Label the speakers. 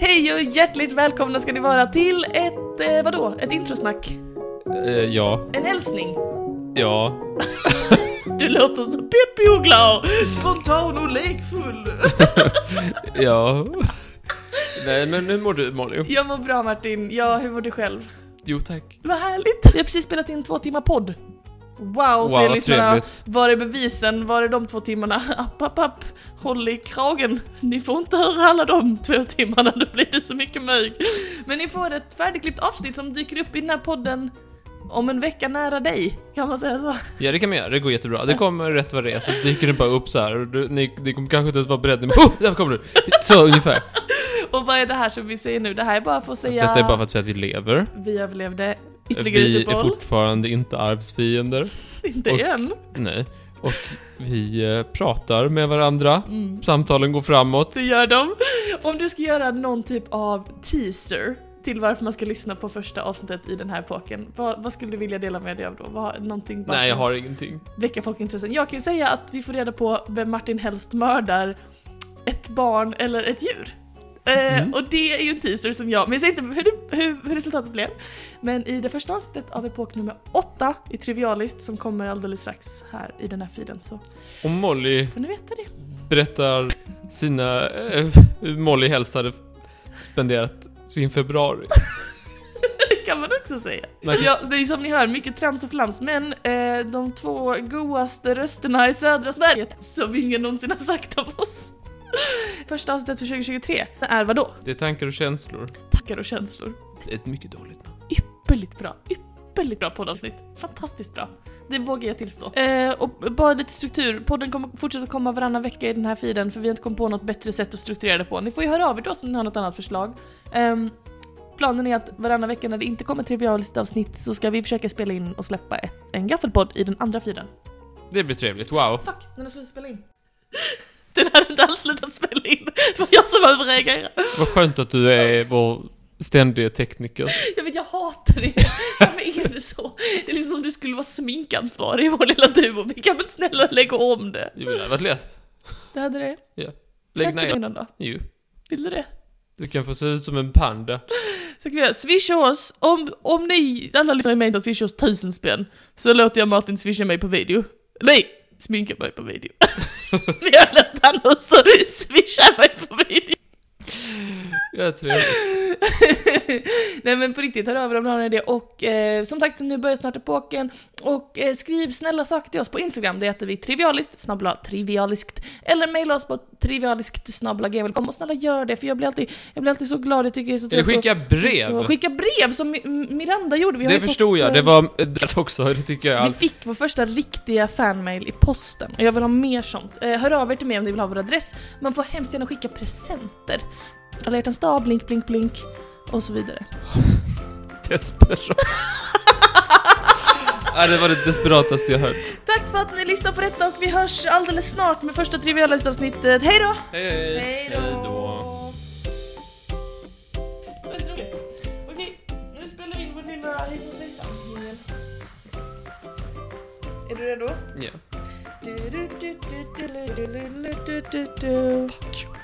Speaker 1: Hej och hjärtligt välkomna ska ni vara till ett, eh, vadå, ett introsnack?
Speaker 2: Eh, ja,
Speaker 1: En hälsning?
Speaker 2: ja.
Speaker 1: Du låter så peppig och glad, spontan och lekfull.
Speaker 2: Ja. Nej, men hur mår du Molly?
Speaker 1: Jag mår bra Martin, ja hur mår du själv?
Speaker 2: Jo tack.
Speaker 1: Vad härligt! Vi har precis spelat in två timmar podd. Wow, säger
Speaker 2: vad
Speaker 1: lyssnarna.
Speaker 2: trevligt.
Speaker 1: Var är bevisen? Var är de två timmarna? App, app, app. Håll i kragen. Ni får inte höra alla de två timmarna, då blir det så mycket mög. Men ni får ett färdigklippt avsnitt som dyker upp i den här podden om en vecka nära dig, kan man säga så.
Speaker 2: Ja, det kan man göra. Det går jättebra. Det kommer rätt vad det är, så dyker det bara upp så här. Och du, ni, ni kommer kanske inte ens vara beredda. Ni bara, Oh, där kommer du! Så ungefär.
Speaker 1: Och vad är det här som vi säger nu? Det här är bara för att säga...
Speaker 2: Detta är bara för att säga att vi lever.
Speaker 1: Vi överlevde ytterligare
Speaker 2: Vi
Speaker 1: ett
Speaker 2: är
Speaker 1: uppehåll.
Speaker 2: fortfarande inte arvsfiender.
Speaker 1: Inte
Speaker 2: och-
Speaker 1: än.
Speaker 2: Nej. Och vi eh, pratar med varandra.
Speaker 1: Mm.
Speaker 2: Samtalen går framåt.
Speaker 1: Det gör de. Om du ska göra någon typ av teaser till varför man ska lyssna på första avsnittet i den här epoken, vad, vad skulle du vilja dela med dig av då? Vad, någonting bara
Speaker 2: Nej, jag
Speaker 1: för
Speaker 2: har ingenting.
Speaker 1: att väcka folkintressen. Jag kan ju säga att vi får reda på vem Martin helst mördar, ett barn eller ett djur. Eh,
Speaker 2: Mm.
Speaker 1: Och det är ju en teaser som jag, men jag säger inte hur, det- hur, hur resultatet blev. Men i det första avsnittet av epok nummer åtta i Trivialist som kommer alldeles strax här i den här feeden så
Speaker 2: Och Molly
Speaker 1: får ni veta det.
Speaker 2: berättar sina... eh, hur Molly helst hade spenderat sin februari.
Speaker 1: Det kan man också säga.
Speaker 2: Man kan-
Speaker 1: Ja, det är som ni hör, mycket trams och flams, men eh, de två goaste rösterna i södra Sverige som ingen någonsin har sagt av oss. Första avsnittet för 2023 är vadå?
Speaker 2: Det är tankar och känslor.
Speaker 1: Tackar och känslor.
Speaker 2: Ett mycket dåligt namn.
Speaker 1: Ypperligt bra, ypperligt bra poddavsnitt. Fantastiskt bra. Det vågar jag tillstå. Eh, och bara lite struktur, podden kommer fortsätta komma varannan vecka i den här feeden för vi har inte kommit på något bättre sätt att strukturera det på. Ni får ju höra av er då om ni har något annat förslag. Ehm, planen är att varannan vecka när det inte kommer trivialiskt avsnitt så ska vi försöka spela in och släppa ett, en gaffelpodd i den andra feeden.
Speaker 2: Det blir trevligt, wow.
Speaker 1: Fuck, den har slutat spela in. Den hade inte alls slutat spela in. Det var jag som överreagerade.
Speaker 2: Vad skönt att du är vår ständige tekniker.
Speaker 1: Jag vet, jag hatar det. Varför är det så? Det är liksom som om du skulle vara sminkansvarig i vår lilla duo. Vi kan väl snälla lägga om det?
Speaker 2: Jo, det hade varit lätt.
Speaker 1: Det hade det.
Speaker 2: Lägg
Speaker 1: Kan inte
Speaker 2: ner.
Speaker 1: innan då?
Speaker 2: Jo.
Speaker 1: Vill du det?
Speaker 2: Du kan få se ut som en panda.
Speaker 1: Så kan vi göra. Swisha oss. Om, om ni alla lyssnar i mig och swishar oss tusen spänn så låter jag Martin swisha mig på video. Nej! Sminka mig på video. jag lät han också swisha mig på video.
Speaker 2: Ja, trevligt.
Speaker 1: Nej men på riktigt, hör över om ni har någon idé och eh, som sagt nu börjar snart epoken och eh, skriv snälla saker till oss på Instagram, det heter vi trivialist snabbla trivialiskt eller mejla oss på trivialiskt snabbla gmail.com och snälla gör det för jag blir alltid, jag blir alltid så glad, jag tycker det är så
Speaker 2: Eller
Speaker 1: trevligt
Speaker 2: skicka
Speaker 1: att- så-
Speaker 2: brev.
Speaker 1: skicka brev som Mi- M- Miranda gjorde, vi har
Speaker 2: Det
Speaker 1: ju fått,
Speaker 2: förstod jag,
Speaker 1: eh,
Speaker 2: det var det också, det tycker jag.
Speaker 1: vi fick vår första riktiga fanmail i posten och jag vill ha mer sånt. Eh, hör av er till mig om ni vill ha vår adress. Man får hemskt gärna skicka presenter. Alla hjärtans dag, blink, blink, blink och så vidare.
Speaker 2: Desperat. ja, det var det desperataste jag hört.
Speaker 1: Tack för att ni lyssnar på detta och vi hörs alldeles snart med första trivialistavsnittet. Hej då!
Speaker 2: Hej, hej.
Speaker 1: Väldigt roligt. Okej, nu spelar vi in vår lilla hejsan svejsan. jingel. Är du redo?
Speaker 2: Ja.
Speaker 1: Du, du, du, du, du, du, du, du, du, du, du. Fuck you.